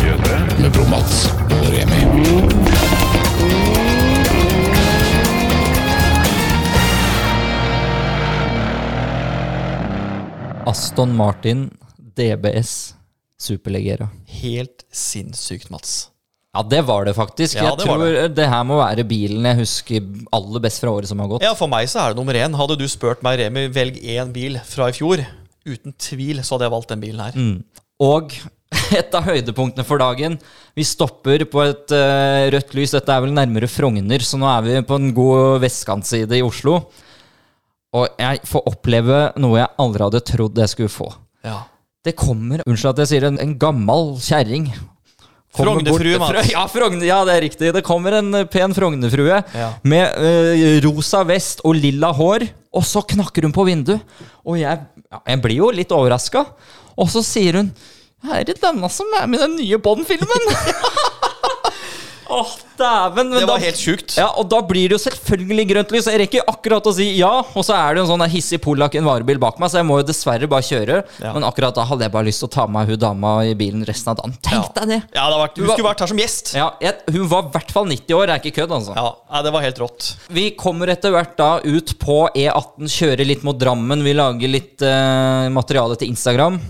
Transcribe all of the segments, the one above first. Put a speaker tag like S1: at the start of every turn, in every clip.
S1: Jødre med Bromats og Remi.
S2: Aston Martin DBS Superlegera.
S3: Helt sinnssykt, Mats.
S2: Ja, det var det faktisk.
S3: Ja,
S2: jeg
S3: det var
S2: tror det. her må være bilen jeg husker aller best fra året som har gått.
S3: Ja, for meg så er det nummer én. Hadde du spurt meg, Remi, velg én bil fra i fjor, uten tvil så hadde jeg valgt den bilen her.
S2: Og et av høydepunktene for dagen. Vi stopper på et eh, rødt lys. Dette er vel nærmere Frogner, så nå er vi på en god vestkantside i Oslo. Og jeg får oppleve noe jeg aldri hadde trodd jeg skulle få.
S3: Ja.
S2: Det kommer, unnskyld at jeg sier det, en, en gammel kjerring. Kommer
S3: Frognerfrue,
S2: bort-
S3: Mats.
S2: Ja, Frogne, ja, det er riktig. Det kommer en eh, pen Frognerfrue
S3: Ja.
S2: med eh, rosa vest og lilla hår, og så knakker hun på vinduet. Og jeg, ja, jeg blir jo litt overraska. Og så sier hun Er det denne som er med i den nye Bond-filmen? Åh, dæven. men
S3: Det var
S2: da-
S3: helt sjukt.
S2: Ja, og da blir det jo selvfølgelig grønt lys. Jeg rekker akkurat å si ja, og så er det jo en sånn der hissig polakk i en varebil bak meg, så jeg må jo dessverre bare kjøre.
S3: Ja.
S2: Men akkurat da hadde jeg bare lyst til å ta med meg hun dama i bilen resten av dagen. Tenk deg det!
S3: Ja, det har vært, Du
S2: var-
S3: skulle vært her som gjest.
S2: Ja, jeg, Hun var i hvert fall 90 år, det er ikke kødd, altså.
S3: Ja, nei, det var helt rått.
S2: Vi kommer etter hvert da ut på E18, kjører litt mot Drammen, vi lager litt eh, materiale til Instagram.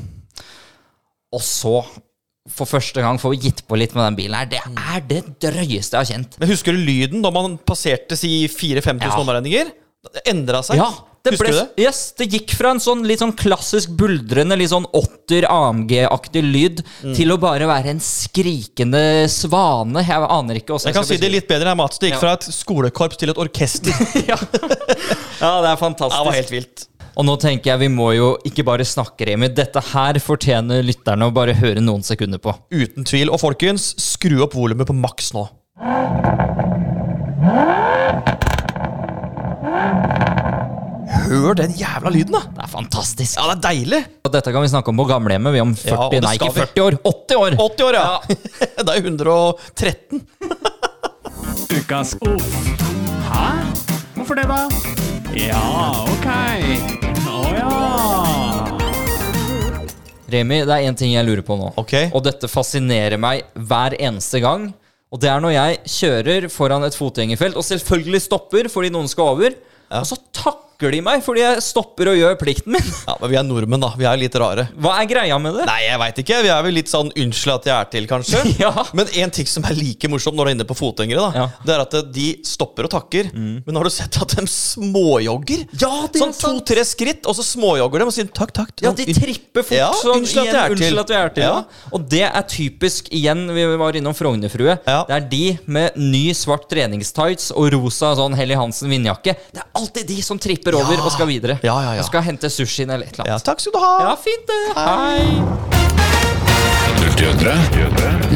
S2: Og så, for første gang, får vi gitt på litt med den bilen her. Det
S3: Mm.
S2: er det drøyeste jeg har kjent.
S3: Men husker du lyden da man passerte si 4000-5000
S2: Ja.
S3: omregninger? Det endra seg.
S2: Ja, det
S3: husker
S2: ble,
S3: du det?
S2: Yes, det gikk fra en sånn litt sånn klassisk buldrende, litt sånn åtter AMG-aktig lyd, til å bare være en skrikende svane. Jeg aner ikke åssen
S3: Jeg kan si det litt bedre her, Mats. Det gikk
S2: Ja.
S3: fra et skolekorps til et orkester. Det
S2: Ja, det er fantastisk.
S3: var helt vilt.
S2: Og nå tenker jeg vi må jo ikke bare snakke, Remi. Dette her fortjener lytterne å bare høre noen sekunder på.
S3: Uten tvil. Og folkens, skru opp volumet på maks nå. Hør den jævla lyden, da!
S2: Det er fantastisk.
S3: Ja, det er deilig!
S2: Og dette kan vi snakke om på gamlehjemmet. Vi er om 40,
S3: og det
S2: nei,
S3: skal
S2: ikke
S3: vi.
S2: 40 år, 80 år!
S3: 80 år, ja! det er 113.
S4: Ukas Uff. Hæ? Hvorfor det, da? Ja, ok. Å ja.
S2: Remi, det er én ting jeg lurer på nå.
S3: Ok.
S2: Og dette fascinerer meg hver eneste gang. Og det er når jeg kjører foran et fotgjengerfelt og selvfølgelig stopper fordi noen skal over. Og så takker de meg fordi jeg stopper og gjør plikten min.
S3: Ja, Men vi er nordmenn, da. Vi er litt rare.
S2: Hva er greia med det?
S3: Nei, jeg veit ikke. Vi er vel litt sånn 'unnskyld at jeg er til', kanskje.
S2: Ja.
S3: Men en ting som er like morsom når du er inne på fotgjengere, da,
S2: Ja. Mm.
S3: det er at de stopper og takker. Men har du sett at de småjogger?
S2: Ja, det er
S3: sånn
S2: sant.
S3: to-tre skritt, og så småjogger de og sier takk, takk. Sånn
S2: Ja, de tripper fort.
S3: Ja,
S2: sånn,
S3: unnskyld at
S2: igjen,
S3: jeg er til.
S2: unnskyld at jeg er til. Ja.
S3: Ja.
S2: Og det er typisk igjen, vi var innom Frognerfrue.
S3: Ja.
S2: Det er de med ny svart treningstights og rosa sånn Helly Hansen-vindjakke. Det er alltid de som tripper over og skal videre.
S3: Ja, ja, ja.
S2: Og skal hente sushien eller et eller annet.
S3: Ja, takk skal du ha.
S2: Ja, fint det. Hei.
S1: Jødre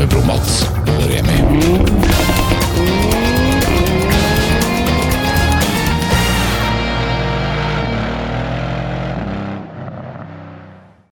S1: med Bromats og Remi.